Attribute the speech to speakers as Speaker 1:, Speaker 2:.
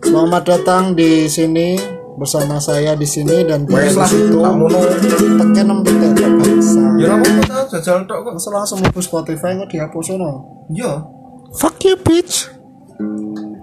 Speaker 1: Selamat datang di sini bersama saya di sini dan
Speaker 2: Wes
Speaker 1: dia
Speaker 2: lah,
Speaker 1: di situ.
Speaker 2: tak mono.
Speaker 1: Tekan nom tidak ada bangsa.
Speaker 2: Ya ora apa-apa ta, jajal tok kok.
Speaker 1: Langsung langsung mlebu Spotify kok dihapus ono.
Speaker 2: Iya.
Speaker 1: Fuck you bitch.